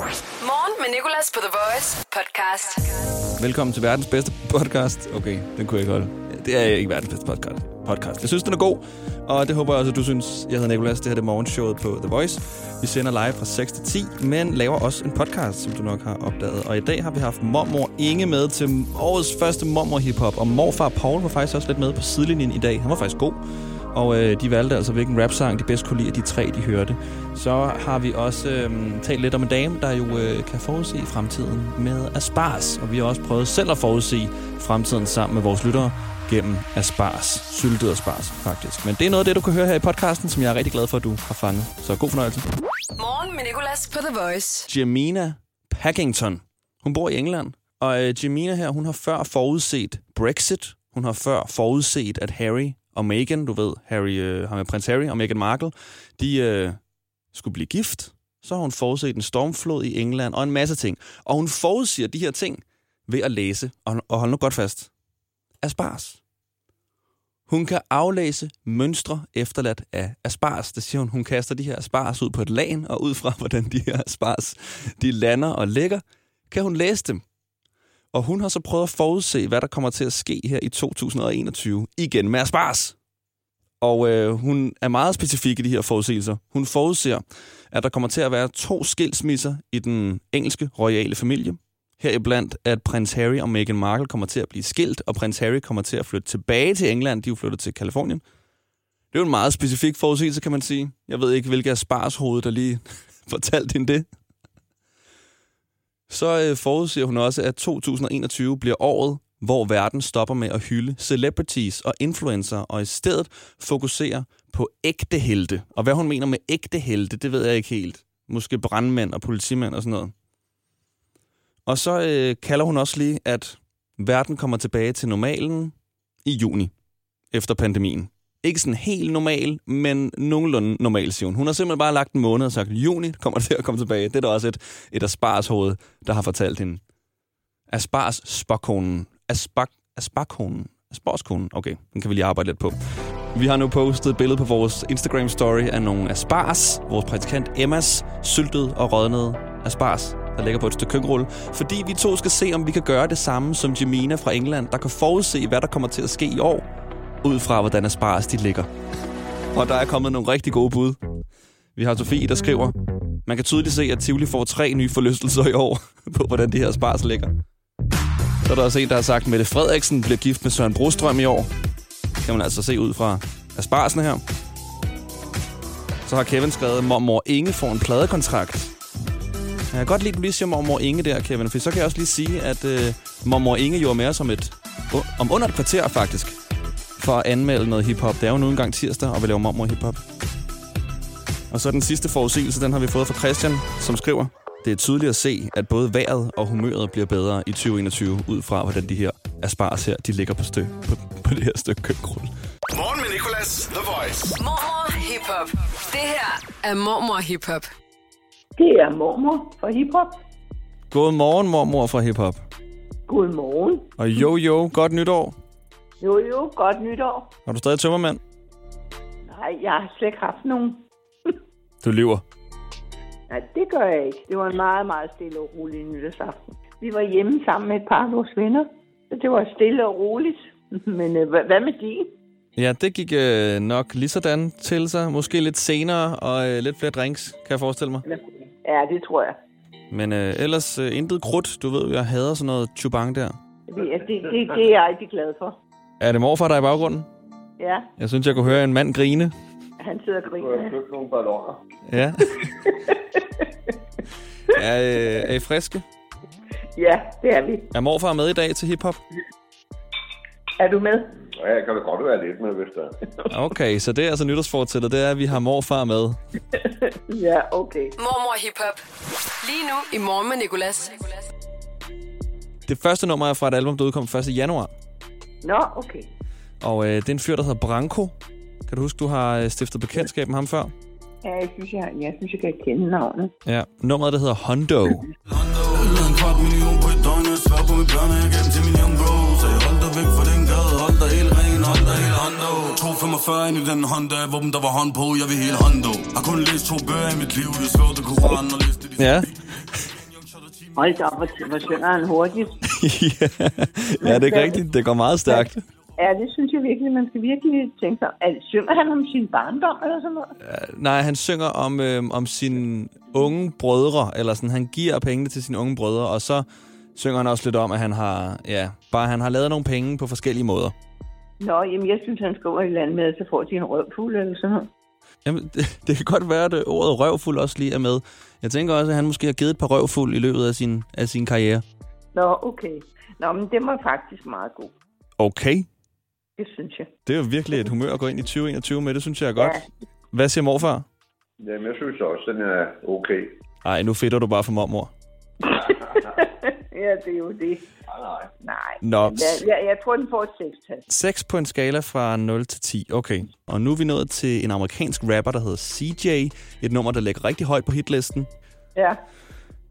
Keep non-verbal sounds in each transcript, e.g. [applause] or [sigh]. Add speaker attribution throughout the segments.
Speaker 1: Morgen med Nicolas på The Voice podcast.
Speaker 2: Velkommen til verdens bedste podcast. Okay, den kunne jeg ikke holde. Det er ikke verdens bedste podcast. podcast. Jeg synes, den er god, og det håber jeg også, at du synes. Jeg hedder Nicolas, det her er morgenshowet på The Voice. Vi sender live fra 6 til 10, men laver også en podcast, som du nok har opdaget. Og i dag har vi haft mormor Inge med til årets første mormor hiphop, og morfar Paul var faktisk også lidt med på sidelinjen i dag. Han var faktisk god. Og øh, de valgte altså, hvilken rapsang de bedst kunne lide af de tre, de hørte. Så har vi også øh, talt lidt om en dame, der jo øh, kan forudse fremtiden med Aspars. Og vi har også prøvet selv at forudse fremtiden sammen med vores lyttere gennem Aspars. Syltet Aspars, faktisk. Men det er noget af det, du kan høre her i podcasten, som jeg er rigtig glad for, at du har fanget. Så god fornøjelse.
Speaker 1: Morgen med Nicolas på The Voice.
Speaker 2: Jemina Packington. Hun bor i England. Og øh, Jemina her, hun har før forudset Brexit. Hun har før forudset, at Harry og Meghan, du ved, Harry, øh, ham er prins Harry og Meghan Markle, de øh, skulle blive gift. Så har hun forudset en stormflod i England og en masse ting. Og hun forudsiger de her ting ved at læse, og, og hold nu godt fast, Aspars. Hun kan aflæse mønstre efterladt af aspars. Det siger hun, hun kaster de her aspars ud på et lagen, og ud fra, [laughs] hvordan de her aspars de lander og ligger, kan hun læse dem. Og hun har så prøvet at forudse, hvad der kommer til at ske her i 2021, igen med aspars. Og øh, hun er meget specifik i de her forudsigelser. Hun forudser, at der kommer til at være to skilsmisser i den engelske royale familie. Heriblandt, at prins Harry og Meghan Markle kommer til at blive skilt, og prins Harry kommer til at flytte tilbage til England. De er jo flyttet til Kalifornien. Det er jo en meget specifik forudsigelse, kan man sige. Jeg ved ikke, hvilket af sparshoved, der lige [laughs] fortalte hende det. Så øh, forudsiger hun også, at 2021 bliver året, hvor verden stopper med at hylde celebrities og influencer, og i stedet fokuserer på ægte helte. Og hvad hun mener med ægte helte, det ved jeg ikke helt. Måske brandmænd og politimænd og sådan noget. Og så øh, kalder hun også lige, at verden kommer tilbage til normalen i juni, efter pandemien. Ikke sådan helt normal, men nogenlunde normal, siger hun. Hun har simpelthen bare lagt en måned og sagt, juni kommer [laughs] det til at komme tilbage. Det er da også et, et Aspars hoved, der har fortalt hende. Aspars spokkonen. Aspak, asparkonen. Asparskonen. Okay, den kan vi lige arbejde lidt på. Vi har nu postet et billede på vores Instagram-story af nogle aspars, vores praktikant Emmas syltede og rådnede aspars, der ligger på et stykke køkkenrulle, fordi vi to skal se, om vi kan gøre det samme som Jemina fra England, der kan forudse, hvad der kommer til at ske i år, ud fra hvordan aspars de ligger. Og der er kommet nogle rigtig gode bud. Vi har Sofie, der skriver, man kan tydeligt se, at Tivoli får tre nye forlystelser i år, [laughs] på hvordan det her aspars ligger. Så er der også en, der har sagt, Mette Frederiksen bliver gift med Søren Brostrøm i år kan man altså se ud fra asparsen her. Så har Kevin skrevet, mormor Inge får en pladekontrakt. Jeg kan godt lide, at du lige siger mormor Inge der, Kevin, for så kan jeg også lige sige, at øh, mormor Inge jo er med os om, et, om under et kvarter faktisk, for at anmelde noget hiphop. Det er jo nu engang tirsdag, og vi laver mormor hiphop. Og så den sidste forudsigelse, den har vi fået fra Christian, som skriver, det er tydeligt at se, at både vejret og humøret bliver bedre i 2021, ud fra hvordan de her aspars her, de ligger på, stø, på, [laughs] på det her stykke køkkenrulle.
Speaker 3: Morgen med Nicolas, The Voice.
Speaker 1: Mormor hiphop. Det her er mormor hiphop.
Speaker 4: Det er mormor fra hiphop.
Speaker 2: Godmorgen, mormor fra hiphop.
Speaker 4: Godmorgen.
Speaker 2: Og jo, jo, godt nytår.
Speaker 4: Jo jo, godt nytår.
Speaker 2: Er du stadig tømmermand?
Speaker 4: Nej, jeg har slet ikke haft nogen.
Speaker 2: Du lever.
Speaker 4: Nej, det gør jeg ikke. Det var en meget, meget stille og rolig nytårsaften. Vi var hjemme sammen med et par af vores venner. Så det var stille og roligt. [laughs] Men øh, hva- hvad med de?
Speaker 2: Ja, det gik øh, nok lige sådan til sig. Måske lidt senere og øh, lidt flere drinks, kan jeg forestille mig.
Speaker 4: Ja, det tror jeg.
Speaker 2: Men øh, ellers øh, intet krudt. Du ved, jeg hader sådan noget chubang der.
Speaker 4: Det, er- det, det, det er jeg rigtig glad for.
Speaker 2: Er det morfar, der er i baggrunden?
Speaker 4: Ja,
Speaker 2: Jeg synes, jeg kunne høre en mand grine.
Speaker 4: han sidder og griner.
Speaker 3: nogle balloner.
Speaker 2: Ja. [laughs] er, øh, er I friske?
Speaker 4: Ja, det er vi.
Speaker 2: Er morfar med i dag til hiphop?
Speaker 4: Er du med?
Speaker 3: Ja, jeg kan da godt være lidt med, hvis der
Speaker 2: Okay, så det er altså nytårsfortsættet, det er, at vi har morfar med.
Speaker 4: Ja, okay.
Speaker 1: Mormor hiphop. Lige nu i morgen med Nicolas.
Speaker 2: Det første nummer er fra et album, der udkom 1. januar.
Speaker 4: Nå, okay.
Speaker 2: Og øh, det er en fyr, der hedder Branko. Kan du huske, du har øh, stiftet bekendtskab med ham før?
Speaker 4: Ja, jeg synes, jeg, jeg, synes, jeg kan kende navnet.
Speaker 2: Ja. Nummeret, der hedder Hondo.
Speaker 5: Uden en kvart million på et døgn Jeg svær på mit børn, og jeg gav dem til min young bro Så jeg holdt dig væk fra den gade Hold dig helt ren, hold dig helt hondo 245 ind i den Honda Våben der var hånd på, jeg vil hele hondo Har kun læst to bøger i mit liv Det er svært, det kunne rende og læse det de
Speaker 2: Ja. [laughs]
Speaker 4: Hold da op, hvor, hvor synger han hurtigt.
Speaker 2: ja, det er ikke rigtigt. Det går meget stærkt.
Speaker 4: Ja, det synes jeg virkelig, man skal virkelig tænke sig. om. Er det, synger han om sin barndom eller sådan noget?
Speaker 2: Nej, han synger om, øh, om sine unge brødre, eller sådan, han giver pengene til sine unge brødre, og så synger han også lidt om, at han har, ja, bare han har lavet nogle penge på forskellige måder.
Speaker 4: Nå, jamen jeg synes, han skriver et eller andet med, at så får de en røvfuld eller sådan noget.
Speaker 2: Jamen, [laughs] det, det kan godt være, at øh, ordet røvfuld også lige er med. Jeg tænker også, at han måske har givet et par røvfuld i løbet af sin, af sin karriere.
Speaker 4: Nå, okay. Nå, men det var faktisk meget god.
Speaker 2: Okay.
Speaker 4: Det synes jeg.
Speaker 2: Det er jo virkelig et humør at gå ind i 2021 med, det synes jeg er godt. Hvad siger morfar?
Speaker 3: Jamen, jeg synes også, den er okay.
Speaker 2: Ej, nu fedter du bare for mormor.
Speaker 4: Ja, det er jo det.
Speaker 3: Nej, nej.
Speaker 4: Nej.
Speaker 2: Nå,
Speaker 4: Jeg, jeg, jeg tror, den får et sekstal.
Speaker 2: 6 på en skala fra 0 til 10. Okay. Og nu er vi nået til en amerikansk rapper, der hedder CJ. Et nummer, der ligger rigtig højt på hitlisten.
Speaker 4: Ja.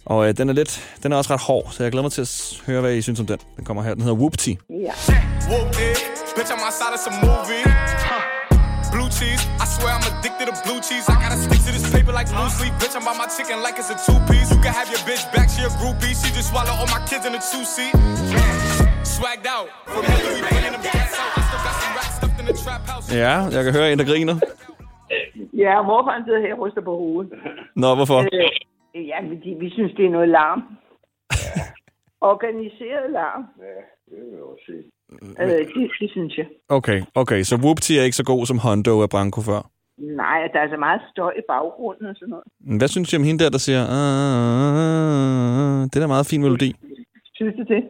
Speaker 2: Og øh, den er lidt, den er også ret hård, så jeg glæder mig til at s- høre, hvad I synes om den. Den kommer her. Den hedder Whoopty.
Speaker 4: ja.
Speaker 6: Whooped it. Bitch, I'm outside of some movie. Huh. Blue cheese. I swear I'm addicted to blue cheese. I gotta stick to this paper like blue sleep. Bitch, I'm by my chicken like it's a two piece. You can have your bitch back, she a groupie. She just swallow all my kids in a two seat. Swagged out. From Hillary, bringing them cats out. I still got some racks stuffed in the trap house.
Speaker 2: Ja, jeg kan høre en, der griner.
Speaker 4: Ja, og morfar han sidder her og ryster på hovedet.
Speaker 2: Nå, hvorfor?
Speaker 4: Øh, ja, fordi vi synes, det er noget larm. Organiseret larm.
Speaker 3: Ja, det vil jeg også sige.
Speaker 4: Øh, det, det synes jeg.
Speaker 2: Okay, okay. Så Whoopty er ikke så god som Hondo af Branko før.
Speaker 4: Nej, og der er så meget støj i baggrunden og sådan noget.
Speaker 2: Men Hvad synes I om hende der, der siger... "Ah, Det er da meget fin melodi.
Speaker 4: Synes du det?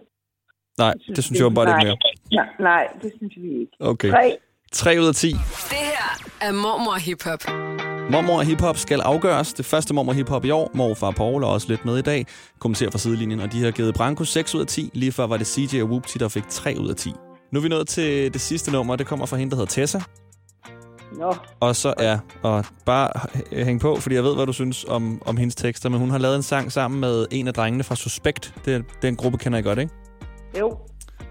Speaker 2: Nej, det synes jeg bare ikke mere.
Speaker 4: Nej, nej, det synes vi ikke.
Speaker 2: Okay.
Speaker 4: Tre.
Speaker 2: 3 ud af 10.
Speaker 1: Det her er mormor hiphop.
Speaker 2: Mormor og hiphop skal afgøres. Det første mormor og hiphop i år. Morfar Paul er også lidt med i dag. Kommenterer fra sidelinjen, og de har givet Branko 6 ud af 10. Lige før var det CJ og Whoopty, der fik 3 ud af 10. Nu er vi nået til det sidste nummer. Det kommer fra hende, der hedder Tessa.
Speaker 4: Nå,
Speaker 2: Og så er, og bare h- hæng på, fordi jeg ved, hvad du synes om, om hendes tekster, men hun har lavet en sang sammen med en af drengene fra Suspekt. Den, den gruppe kender I godt, ikke?
Speaker 4: jo.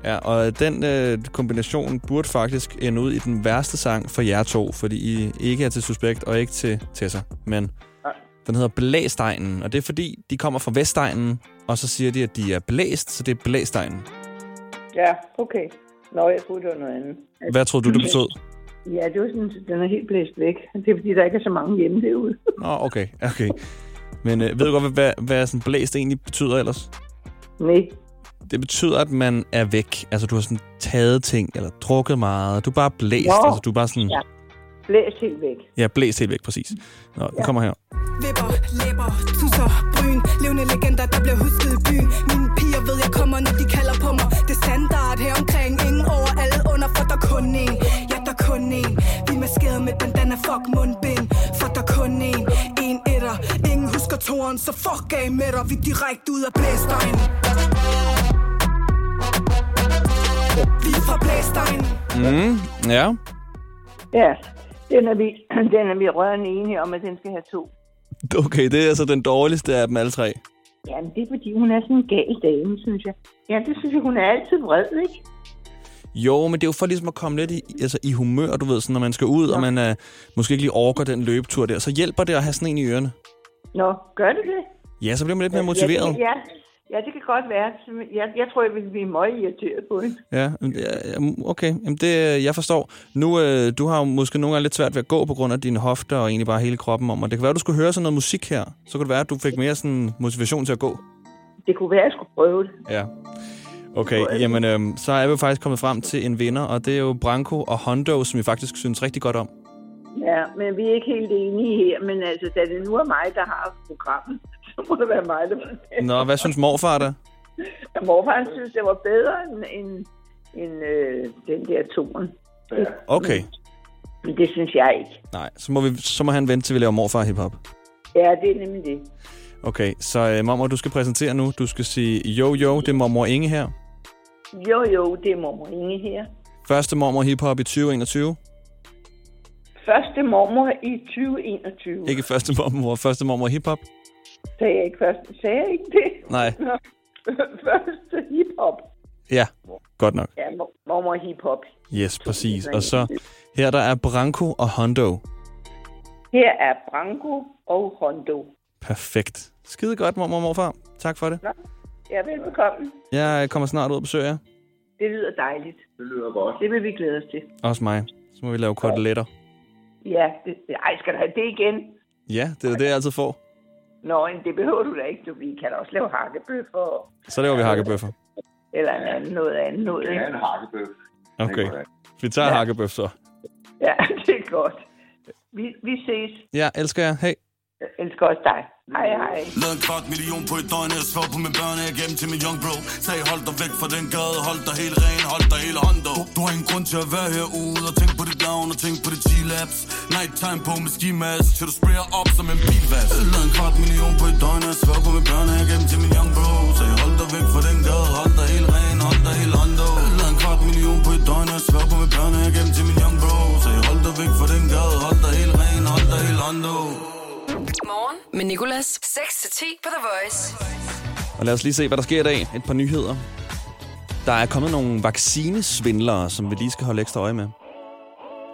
Speaker 2: Ja, og den øh, kombination burde faktisk ende ud i den værste sang for jer to, fordi I ikke er til Suspekt og ikke til Tessa. Men den hedder Blæstegnen, og det er fordi, de kommer fra Vestegnen, og så siger de, at de er blæst, så det er Blæstegnen.
Speaker 4: Ja, okay. Nå, jeg troede, det var noget andet. Altså,
Speaker 2: Hvad troede du, det betød?
Speaker 4: Ja, det var sådan, den er helt blæst væk. [laughs] Det er, fordi der ikke er så mange hjemme derude. [laughs]
Speaker 2: Nå, okay, okay. Men øh, ved du godt, hvad, hvad, hvad sådan blæst egentlig betyder ellers?
Speaker 4: Nej.
Speaker 2: Det betyder, at man er væk. Altså, du har sådan taget ting, eller drukket meget. Du er bare blæst.
Speaker 4: Nå.
Speaker 2: Altså, du er bare sådan... Ja.
Speaker 4: Ja. Blæst helt væk.
Speaker 2: ja, blæst helt væk, præcis. Nå, den kommer her.
Speaker 7: Vipper, læber, tusser, bryn Levende legender, der bliver husket i byen Mine piger ved, jeg kommer, når de kalder på mig Det er standard her omkring Ingen over alle under, for der er kun en Ja, der er kun en Vi er maskeret med bandana, fuck mundbind For der er kun en, en etter Ingen husker toren, så fuck af med dig Vi er direkte ud af blæstegn Vi er fra blæstegn
Speaker 2: Mm, ja.
Speaker 4: Ja, den er, vi, [clears throat] den er vi rørende enige om, at den skal have to.
Speaker 2: [laughs] Okay, det er altså den dårligste af dem alle tre.
Speaker 4: Jamen, det er, fordi hun er sådan en gal dame, synes jeg. Ja, det synes jeg, hun er altid vred, ikke?
Speaker 2: Jo, men det er jo for ligesom at komme lidt i, altså, i humør, du ved, sådan, når man skal ud, og man øh, måske ikke lige orker den løbetur der. Så hjælper det at have sådan en i ørerne.
Speaker 4: Nå, gør det det?
Speaker 2: Ja, så bliver man lidt mere
Speaker 4: Ja,
Speaker 2: motiveret.
Speaker 4: det, ja. ja, det kan godt være. Jeg, jeg tror, jeg ville blive meget irriteret på hende.
Speaker 2: Ja, jamen, ja, ja, okay. Jamen, det, øh, jeg forstår. Nu, øh, du har jo måske nogle gange lidt svært ved at gå på grund af dine hofter og egentlig bare hele kroppen om, og det kan være, at du skulle høre sådan noget musik her. Så kunne det være, at du fik mere sådan motivation til at gå.
Speaker 4: Det kunne være, at jeg skulle prøve det.
Speaker 2: Ja. Okay, jamen, øh, så er vi jo faktisk kommet frem til en vinder, og det er jo Branko og Hondo, som vi faktisk synes rigtig godt om.
Speaker 4: Ja, men vi er ikke helt enige her. Men altså, da det nu er mig, der har programmet, [laughs] så må det være mig, der var det.
Speaker 2: Nå, hvad synes morfar da? Mm.
Speaker 4: Morfar han synes, det var bedre end, end, end øh, den der toren.
Speaker 3: Ja.
Speaker 2: Okay,
Speaker 4: Men det synes jeg ikke.
Speaker 2: nej, så må, vi, så må han vente til, vi laver morfar hiphop.
Speaker 4: Ja, det er nemlig det.
Speaker 2: Okay, så øh, mormor, du skal præsentere nu. Du skal sige, jo, jo, det er mormor Inge her.
Speaker 4: Jo, jo, det er mormor Inge her.
Speaker 2: Første mormor hiphop i 2021.
Speaker 4: Første mormor i 2021.
Speaker 2: Ikke første mormor, første mormor hiphop.
Speaker 4: Sagde jeg ikke første? Sagde jeg ikke det?
Speaker 2: Nej.
Speaker 4: Nå. [laughs] første hiphop.
Speaker 2: Ja, godt nok.
Speaker 4: Ja, mor- mormor hiphop.
Speaker 2: Yes, præcis. Og så her der er Branko og Hondo.
Speaker 4: Her er Branko og Hondo.
Speaker 2: Perfekt. Skide godt, mormor og morfar. Tak for det.
Speaker 4: Ja, velbekomme.
Speaker 2: Jeg øh, kommer snart ud og besøger jer.
Speaker 4: Det lyder dejligt.
Speaker 3: Det lyder godt.
Speaker 4: Det vil vi glæde os til.
Speaker 2: Også mig. Så må vi lave koteletter.
Speaker 4: Ja, det, ej, skal du have det igen?
Speaker 2: Ja, det er det, jeg altid får.
Speaker 4: Nå, men det behøver du da ikke. Du, vi kan da også lave hakkebøf og,
Speaker 2: Så laver vi hakkebøffer.
Speaker 4: eller en anden, noget andet noget.
Speaker 3: Det er
Speaker 4: Ikke?
Speaker 3: en hakkebøf.
Speaker 2: Okay.
Speaker 3: Det er godt.
Speaker 2: Vi tager hakkebøf så.
Speaker 4: Ja, [laughs] det er godt. Vi, vi ses.
Speaker 2: Ja, elsker jer. Hej.
Speaker 4: Jeg elsker også dig. Hej, hej.
Speaker 5: Lavet en kvart million på et døgn, jeg svær på mine børn, jeg gav dem til min young bro. Sag hold dig væk fra den gade, hold dig helt ren, hold dig hele hånd dog. Du har ingen grund til at være herude, og tænk på dit navn, og tænk på dit G-Labs. Night time på med ski mask, til du sprayer op som en bilvask. Lavet en kvart million på et døgn, jeg svær på mine børn, jeg gav dem til min young bro. Sag hold dig væk fra den gade, hold dig helt ren, hold dig hele hånd dog. Lavet en kvart million på et døgn, jeg svær på mine børn, jeg gav dem til min young bro. Sag hold dig væk fra den gade, hold dig helt ren, hold dig hele hånd dog.
Speaker 1: Morgen med Nicolas. 6-10 på The Voice.
Speaker 2: Og lad os lige se, hvad der sker i dag. Et par nyheder. Der er kommet nogle vaccinesvindlere, som vi lige skal holde ekstra øje med.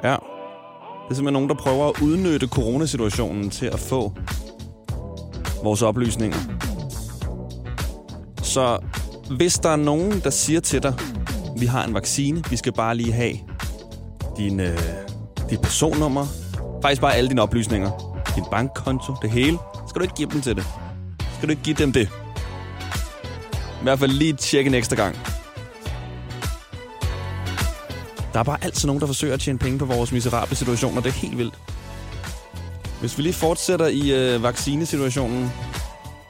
Speaker 2: Ja. Det er simpelthen nogen, der prøver at udnytte coronasituationen til at få vores oplysninger. Så hvis der er nogen, der siger til dig, vi har en vaccine, vi skal bare lige have din, øh, dit personnummer, faktisk bare alle dine oplysninger, din bankkonto, det hele, skal du ikke give dem til det. Skal du ikke give dem det. I hvert fald lige tjekke en ekstra gang. Der er bare altid nogen, der forsøger at tjene penge på vores miserable situation, og det er helt vildt. Hvis vi lige fortsætter i øh, vaccinesituationen,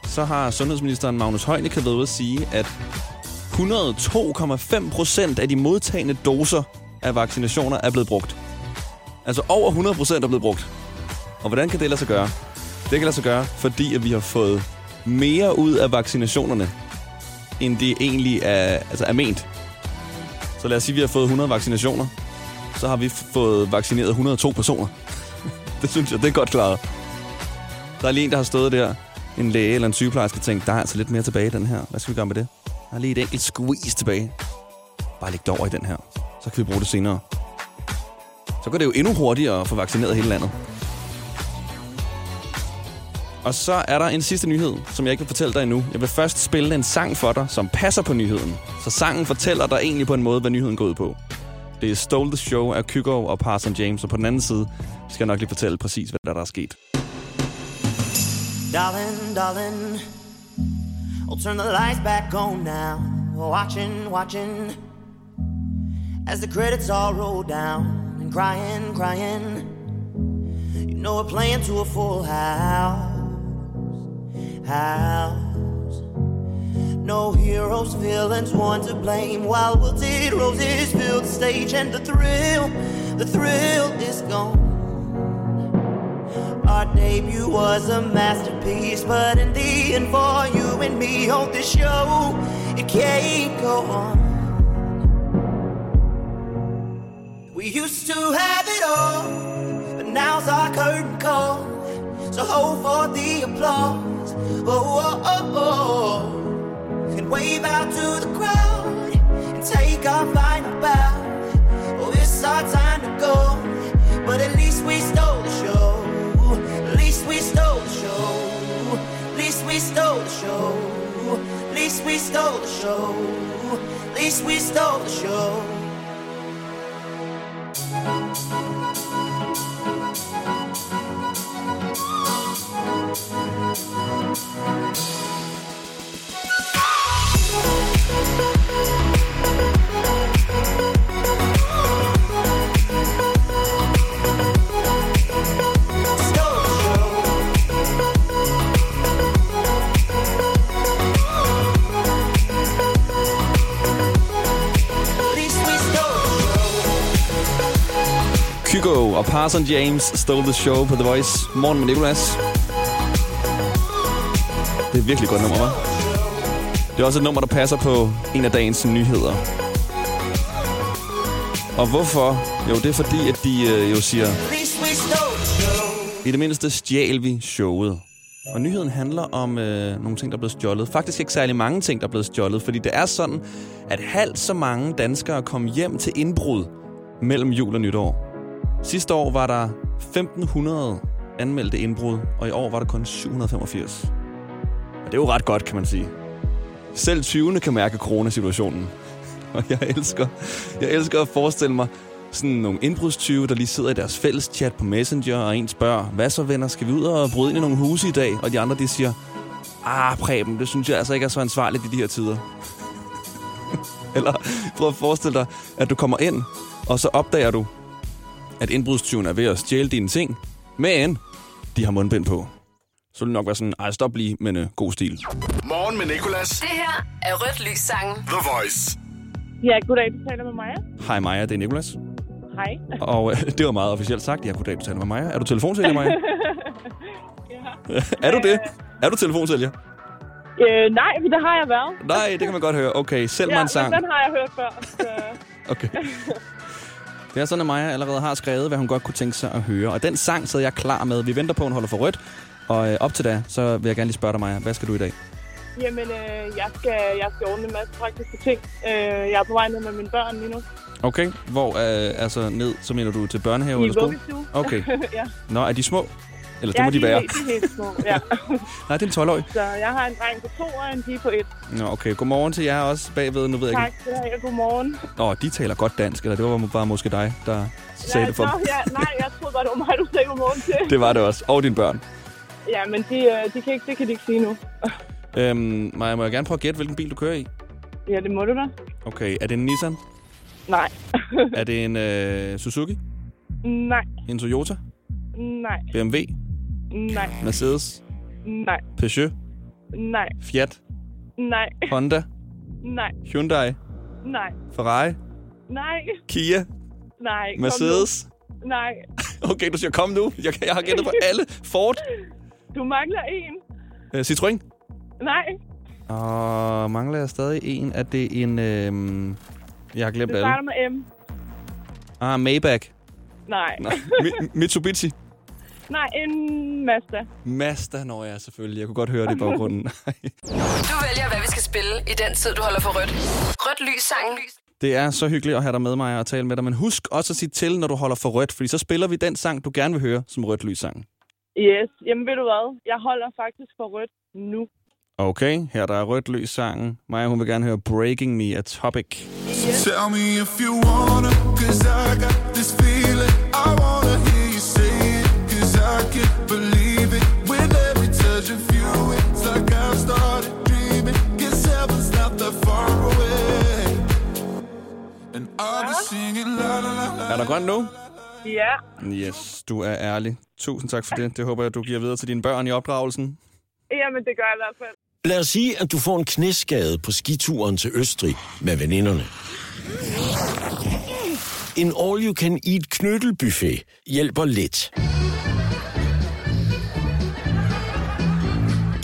Speaker 2: så har sundhedsministeren Magnus Heunicke været ude at sige, at 102,5 procent af de modtagende doser af vaccinationer er blevet brugt. Altså over 100 procent er blevet brugt. Og hvordan kan det lade sig gøre? Det kan lade sig gøre, fordi at vi har fået mere ud af vaccinationerne, end det egentlig er, altså er ment. Så lad os sige, at vi har fået 100 vaccinationer. Så har vi f- fået vaccineret 102 personer. [laughs] det synes jeg, det er godt klaret. Der er lige en, der har stået der, en læge eller en sygeplejerske, og tænkt, der er altså lidt mere tilbage i den her. Hvad skal vi gøre med det? Der er lige et enkelt squeeze tilbage. Bare læg det over i den her. Så kan vi bruge det senere. Så går det jo endnu hurtigere at få vaccineret hele landet. Og så er der en sidste nyhed, som jeg ikke vil fortælle dig endnu. Jeg vil først spille en sang for dig, som passer på nyheden. Så sangen fortæller dig egentlig på en måde, hvad nyheden går ud på. Det er Stole the Show af Kygo og Parson James, og på den anden side skal jeg nok lige fortælle præcis, hvad der, der er sket.
Speaker 8: Darling, darling, I'll turn the lights back on now. Watching, watching, as the credits all roll down and crying, crying. You know we're playing to a full house, house. No heroes, villains, one to blame. While wilted roses fill the stage, and the thrill, the thrill is gone. Our debut was a masterpiece, but in the end, for you and me, on this show, it can't go on. We used to have it all, but now's our curtain call. So hold for the applause. Oh, oh, oh, oh. And wave out to the crowd and take our final bow. Oh, it's our time to go, but at least we stole the show. At least we stole the show. At least we stole the show. At least we stole the show. At least we stole the show. Stole the show. At least we stole the show.
Speaker 2: Kygo og Parson James stole the show på The Voice. Morgen med Nicolas. Det er et virkelig godt nummer, hva'? Det er også et nummer, der passer på en af dagens nyheder. Og hvorfor? Jo, det er fordi, at de øh, jo siger,
Speaker 8: At least we stole the show.
Speaker 2: I det mindste stjal vi showet. Og nyheden handler om øh, nogle ting, der er blevet stjålet. Faktisk ikke særlig mange ting, der er blevet stjålet, fordi det er sådan, at halvt så mange danskere kom hjem til indbrud mellem jul og nytår. Sidste år var der 1.500 anmeldte indbrud, og i år var der kun 785. Og Det er jo ret godt, kan man sige. Selv 20'erne kan mærke coronasituationen. [laughs] Og jeg elsker, jeg elsker at forestille mig sådan nogle indbrudstyve, der lige sidder i deres fælles chat på Messenger, og en spørger, hvad så venner, skal vi ud og bryde ind i nogle huse i dag? Og de andre, de siger, ah Preben, det synes jeg altså ikke er så ansvarligt i de her tider. [laughs] Eller prøv at forestille dig, at du kommer ind, og så opdager du, at indbrudstyven er ved at stjæle dine ting, men de har mundbind på. Så vil det nok være sådan, ej stop lige, men øh, god stil.
Speaker 3: Morgen med Nicolas.
Speaker 1: Det her er Rødt Lys sangen.
Speaker 3: The Voice.
Speaker 8: Ja, goddag, du taler med Maja.
Speaker 2: Hej Maja, det er Nicolas.
Speaker 8: Hej.
Speaker 2: Og øh, det var meget officielt sagt. Jeg kunne da ikke tale med Maja. Er du telefonsælger,
Speaker 8: [laughs]
Speaker 2: Maja? ja. [laughs] er du det? Er du telefonsælger?
Speaker 8: Øh, nej, men det har jeg været.
Speaker 2: Nej, det kan man godt høre. Okay, selv mig
Speaker 8: ja,
Speaker 2: en sang.
Speaker 8: men den har jeg hørt før. Så... [laughs]
Speaker 2: Okay. Det er sådan, at Maja allerede har skrevet, hvad hun godt kunne tænke sig at høre. Og den sang sad jeg klar med. Vi venter på, at hun holder for rødt. Og øh, op til da, så vil jeg gerne lige spørge dig, Maja. Hvad skal du i dag?
Speaker 8: Jamen, øh, jeg, skal, jeg skal ordne en masse praktiske ting. Øh, jeg er på vej ned med mine børn lige nu.
Speaker 2: Okay. Hvor, øh, altså ned, så mener du til børnehave
Speaker 8: I
Speaker 2: eller skole?
Speaker 8: vuggestue.
Speaker 2: Okay.
Speaker 8: [laughs] ja.
Speaker 2: Nå, er de små? Eller det
Speaker 8: ja,
Speaker 2: må de
Speaker 8: er
Speaker 2: være.
Speaker 8: helt- De er helt små, ja. [laughs]
Speaker 2: Nej, det er en 12-årig.
Speaker 8: Så jeg har en dreng på to og en pige på et.
Speaker 2: Nå, okay. Godmorgen til jer også bagved. Nu ved jeg
Speaker 8: Tak, det her. Godmorgen.
Speaker 2: ikke. Nå, de taler godt dansk, eller det var bare måske dig, der sagde
Speaker 8: ja,
Speaker 2: det for
Speaker 8: nå,
Speaker 2: dem.
Speaker 8: ja, nej, jeg troede bare, det var mig, du sagde godmorgen til.
Speaker 2: Det var det også. Og dine børn.
Speaker 8: Ja, men de, øh, de kan ikke, det kan de ikke sige nu.
Speaker 2: Øhm, Maja, må jeg gerne prøve at gætte, hvilken bil du kører i?
Speaker 8: Ja, det må du da.
Speaker 2: Okay, er det en Nissan?
Speaker 8: Nej. [laughs]
Speaker 2: Er det en øh, Suzuki?
Speaker 8: nej,
Speaker 2: En Toyota?
Speaker 8: nej,
Speaker 2: BMW?
Speaker 8: nej,
Speaker 2: Mercedes?
Speaker 8: nej,
Speaker 2: Peugeot?
Speaker 8: nej,
Speaker 2: Fiat?
Speaker 8: nej,
Speaker 2: Honda?
Speaker 8: nej,
Speaker 2: Hyundai?
Speaker 8: nej,
Speaker 2: Ferrari?
Speaker 8: nej,
Speaker 2: Kia?
Speaker 8: nej. kom nu.
Speaker 2: Mercedes?
Speaker 8: Nej,
Speaker 2: Okay, du siger, kom nu. Jeg, jeg har gættet på alle. Ford?
Speaker 8: du mangler en.
Speaker 2: Øh, Citroën?
Speaker 8: Nej,
Speaker 2: Og mangler jeg stadig en? Er det en... Øh, jeg har glemt
Speaker 8: det
Speaker 2: alle.
Speaker 8: starter med M.
Speaker 2: Ah, Maybach.
Speaker 8: Nej,
Speaker 2: Nej, Mi- Mitsubishi.
Speaker 8: nej, en Mazda.
Speaker 2: Mazda når jeg selvfølgelig. Jeg kunne godt høre det i baggrunden. [laughs]
Speaker 1: Du vælger, hvad vi skal spille i den tid, du holder for rødt. Rødt Lys sangen.
Speaker 2: det er så hyggeligt at have dig med mig og tale med dig, men husk også at sige til, når du holder for rødt, fordi så spiller vi den sang, du gerne vil høre som rødt lys sang.
Speaker 8: Yes, jamen ved du hvad? Jeg holder faktisk for rødt nu.
Speaker 2: Okay, her der er rødt lys sangen. Maja, hun vil gerne høre Breaking Me af Topic.
Speaker 3: Tell me if you wanna, cause I got this feeling. I wanna hear you say it, cause I can't believe it. With every touch of you, it's like I've started dreaming. Guess heaven's not that far away. And I'll be singing la la la la.
Speaker 2: Er der grøn nu?
Speaker 8: Ja,
Speaker 2: Yes, du er ærlig. Tusind tak for det. Det håber jeg, du giver videre til dine børn i opdragelsen.
Speaker 8: jamen det gør jeg i hvert fald.
Speaker 5: Lad os sige, at du får en knæskade på skituren til Østrig med veninderne. En all-you-can-eat knyttelbuffet hjælper lidt.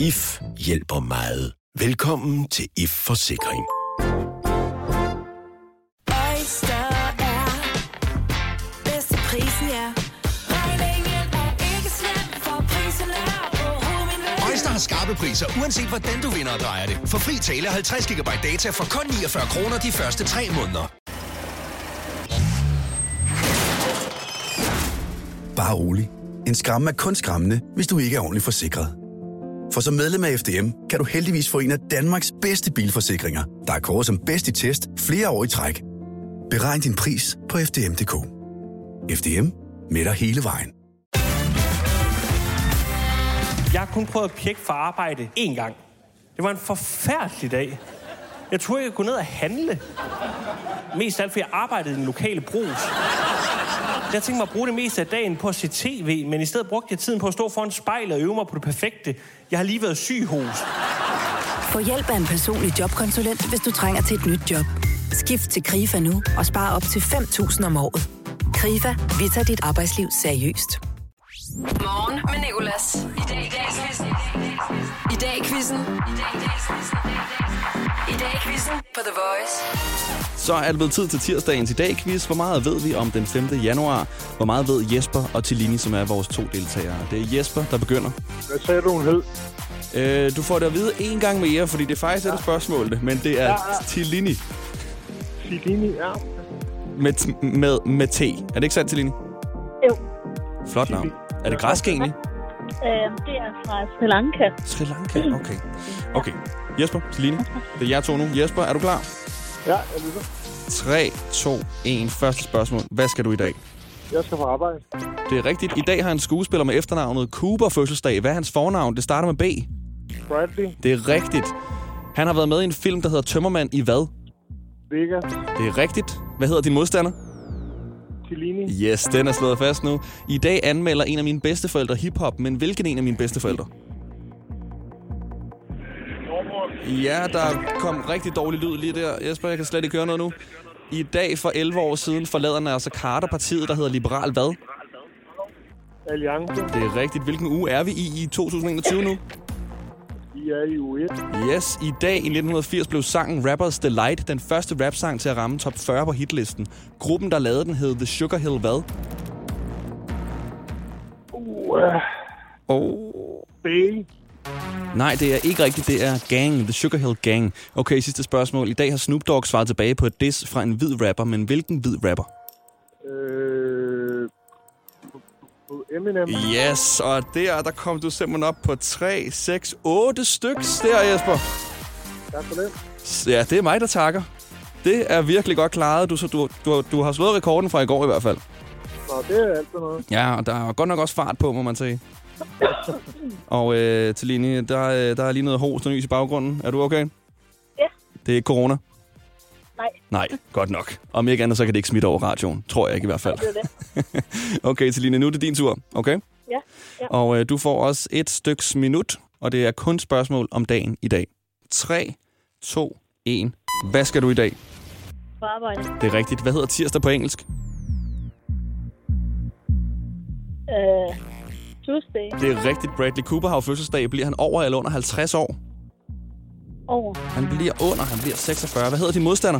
Speaker 5: IF hjælper meget. Velkommen til IF Forsikring.
Speaker 7: Oyster er bedst til prisen, ja. Regningen er ikke slem, for prisen er på
Speaker 9: Øjster har skarpe priser, uanset hvordan du vinder og drejer det. For fri tale 50 GB data for kun 49 kroner de første 3 måneder.
Speaker 3: Bare rolig. En skræmme er kun skræmmende, hvis du ikke er ordentligt forsikret. For som medlem af FDM kan du heldigvis få en af Danmarks bedste bilforsikringer, der er kåret som bedst i test flere år i træk. Beregn din pris på FDM.dk. FDM med dig hele vejen.
Speaker 10: Jeg har kun prøvet at pjekke for arbejde én gang. Det var en forfærdelig dag. Jeg troede, jeg kunne gå ned og handle. Mest af alt, fordi jeg arbejdede i den lokale brus. Jeg tænkte mig at bruge det meste af dagen på at se tv, men i stedet brugte jeg tiden på at stå foran spejlet og øve mig på det perfekte. Jeg har lige været syg hos.
Speaker 7: Få hjælp af en personlig jobkonsulent, hvis du trænger til et nyt job. Skift til KRIFA nu og spar op til 5.000 om året. KRIFA, vi tager dit arbejdsliv seriøst.
Speaker 1: Morgen med Nicolas. I dag i dag quizzen. I dag i quizzen. I dag i quizzen på The Voice.
Speaker 2: Så er det blevet tid til tirsdagens i dag quiz. Hvor meget ved vi om den 5. januar? Hvor meget ved Jesper og Tillini, som er vores to deltagere? Det er Jesper, der begynder.
Speaker 11: Hvad sagde du, hun hed?
Speaker 2: Øh, du får det at vide en gang mere, fordi det faktisk er et spørgsmål, det, men det er Tillini
Speaker 11: Filini, ja.
Speaker 2: med, t- med, med T. Er det ikke sandt, Tillini?
Speaker 8: Jo.
Speaker 2: Flot navn. Er det græsk egentlig?
Speaker 12: Øh, det er fra Sri Lanka.
Speaker 2: Sri Lanka, okay. Okay. Jesper, Celine, det er jer to nu. Jesper, er du klar?
Speaker 3: Ja, jeg lytter.
Speaker 2: 3, 2, 1. Første spørgsmål. Hvad skal du i dag?
Speaker 3: Jeg skal på arbejde.
Speaker 2: Det er rigtigt. I dag har en skuespiller med efternavnet Cooper fødselsdag. Hvad er hans fornavn? Det starter med B.
Speaker 3: Bradley,
Speaker 2: Det er rigtigt. Han har været med i en film, der hedder Tømmermand i hvad?
Speaker 3: Vega,
Speaker 2: Det er rigtigt. Hvad hedder din modstander?
Speaker 3: Tilini,
Speaker 2: Yes, den er slået fast nu. I dag anmelder en af mine bedsteforældre hiphop, men hvilken en af mine bedsteforældre? Ja, der kom rigtig dårlig lyd lige der. Jesper, jeg kan slet ikke høre noget nu. I dag for 11 år siden forlader Nasser Carter partiet, der hedder Liberal hvad?
Speaker 3: Alliance.
Speaker 2: Det er rigtigt. Hvilken uge er vi i i 2021 nu?
Speaker 3: I er i uge 1.
Speaker 2: Yes, i dag i 1980 blev sangen Rappers Delight den første rapsang til at ramme top 40 på hitlisten. Gruppen, der lavede den, hed The Sugar Hill hvad?
Speaker 3: Uh,
Speaker 2: Oh.
Speaker 3: Bay.
Speaker 2: Nej, det er ikke rigtigt. Det er Gang, The Sugar Hill Gang. Okay, sidste spørgsmål. I dag har Snoop Dogg svaret tilbage på et diss fra en hvid rapper, men hvilken hvid rapper?
Speaker 3: Øh, Eminem.
Speaker 2: Yes, og der, der kom du simpelthen op på 3, 6, 8 styks der, Jesper.
Speaker 3: Tak for det.
Speaker 2: Ja, det er mig, der takker. Det er virkelig godt klaret. Du, så du, du, du har slået rekorden fra i går i hvert fald.
Speaker 3: Nå, det er altid noget.
Speaker 2: Ja, og der er godt nok også fart på, må man sige. og øh, Tilini, der, øh, der er lige noget host og nys i baggrunden. Er du okay?
Speaker 12: Ja.
Speaker 2: Det er ikke corona?
Speaker 12: Nej.
Speaker 2: Nej, godt nok. Om ikke andet, så kan det ikke smitte over radioen. Tror jeg ikke i hvert fald.
Speaker 12: Det er det.
Speaker 2: [laughs] okay, Tilline, nu er det din tur, okay?
Speaker 12: Ja. ja.
Speaker 2: Og øh, du får også et styks minut, og det er kun spørgsmål om dagen i dag. 3, 2, 1. Hvad skal du i dag?
Speaker 12: På arbejde.
Speaker 2: Det er rigtigt. Hvad hedder tirsdag på engelsk?
Speaker 12: Øh, Tuesday.
Speaker 2: Det er rigtigt. Bradley Cooper har jo fødselsdag. Bliver han over eller under 50 år?
Speaker 12: Over.
Speaker 2: Han bliver under. Han bliver 46. Hvad hedder din modstander?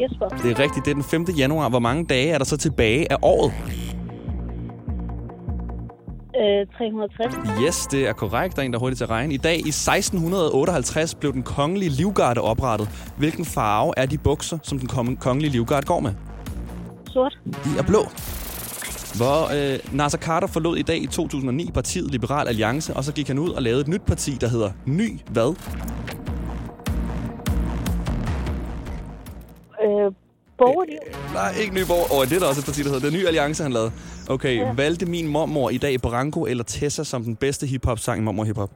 Speaker 12: Jesper.
Speaker 2: Det er rigtigt. Det er den 5. januar. Hvor mange dage er der så tilbage af året?
Speaker 12: Øh, 360.
Speaker 2: Yes, det er korrekt. Der er en, der er hurtigt til at regne. I dag i 1658 blev den kongelige livgarde oprettet. Hvilken farve er de bukser, som den konge- kongelige livgarde går med?
Speaker 12: Sort.
Speaker 2: De er blå. Hvor øh, Nasser Carter forlod i dag i 2009 partiet Liberal Alliance, og så gik han ud og lavede et nyt parti, der hedder Ny Hvad?
Speaker 12: Øh, borgerliv.
Speaker 2: Nej, ikke Nyborg. Og oh, det er der også et parti, der hedder Den Nye Alliance, han lavede. Okay, ja. valgte min mormor i dag Branko eller Tessa som den bedste hiphop-sang i Mormor Hiphop?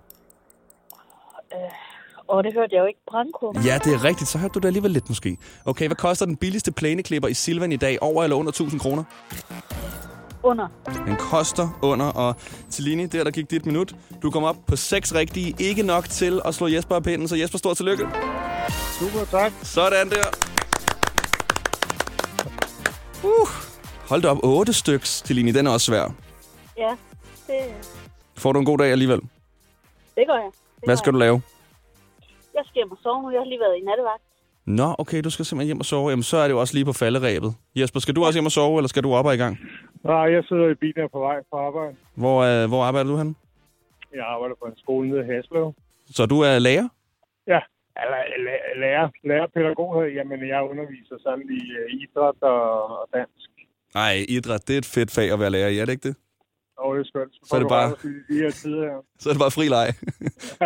Speaker 12: Og det hørte jeg jo ikke. Branko.
Speaker 2: Ja, det er rigtigt. Så hørte du det alligevel lidt måske. Okay, hvad koster den billigste plæneklipper i Silvan i dag? Over eller under 1000 kroner?
Speaker 12: Under.
Speaker 2: Den koster under, og Tilini, der der gik dit minut. Du kom op på seks rigtige. Ikke nok til at slå Jesper af pinden, så Jesper, stort tillykke.
Speaker 3: Super, tak.
Speaker 2: Sådan der. Uh, hold da op. Otte styks, Tilini. Den er også svær.
Speaker 12: Ja, det,
Speaker 2: Får du en god dag alligevel.
Speaker 12: det gør jeg. Det gør
Speaker 2: Hvad skal
Speaker 12: jeg.
Speaker 2: du lave?
Speaker 12: Jeg skal hjem og sove nu. Jeg har lige været i nattevagt.
Speaker 2: Nå, okay, du skal simpelthen hjem og sove. Jamen, så er det jo også lige på falderæbet. Jesper, skal du også hjem og sove, eller skal du op og i gang?
Speaker 3: Nej, jeg sidder i bilen og er på vej fra arbejde.
Speaker 2: Hvor, øh, hvor arbejder du hen?
Speaker 3: Jeg arbejder på en skole nede i Haslev.
Speaker 2: Så du er lærer?
Speaker 3: Ja, eller la- lærer, lærer pædagog. Jamen, jeg underviser sådan i øh, idræt og, og dans.
Speaker 2: Nej, idræt, det er et fedt fag at være lærer i, er det ikke det?
Speaker 3: Og det er skønt.
Speaker 2: Så er det bare-
Speaker 3: I de her tider her.
Speaker 2: Så er det bare fri leg.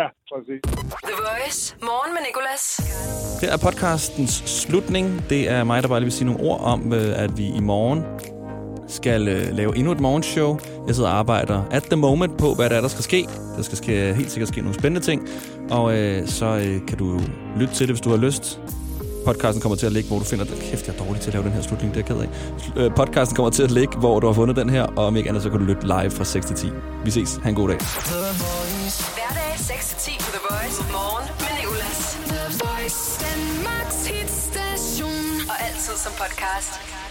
Speaker 3: Ja, præcis.
Speaker 1: The Voice. Morgen med Nicolas.
Speaker 2: Her er podcastens slutning. Det er mig, der bare lige vil sige nogle ord om, øh, at vi i morgen skal øh, lave endnu et morgenshow. Jeg sidder og arbejder at the moment på, hvad der er, der skal ske. Der skal ske, helt sikkert ske nogle spændende ting. Og øh, så øh, kan du lytte til det, hvis du har lyst. Podcasten kommer til at ligge, hvor du finder... Kæft, jeg er dårlig til at lave den her slutning, det er jeg ked af. Sl- øh, Podcasten kommer til at ligge, hvor du har fundet den her, og om ikke andet, så kan du lytte live fra 6 til 10. Vi ses. Ha' en god dag.
Speaker 1: Hverdag 6-10 på The Voice. Morgen med Nicolas. The Voice. Danmarks hitstation. Og altid som podcast.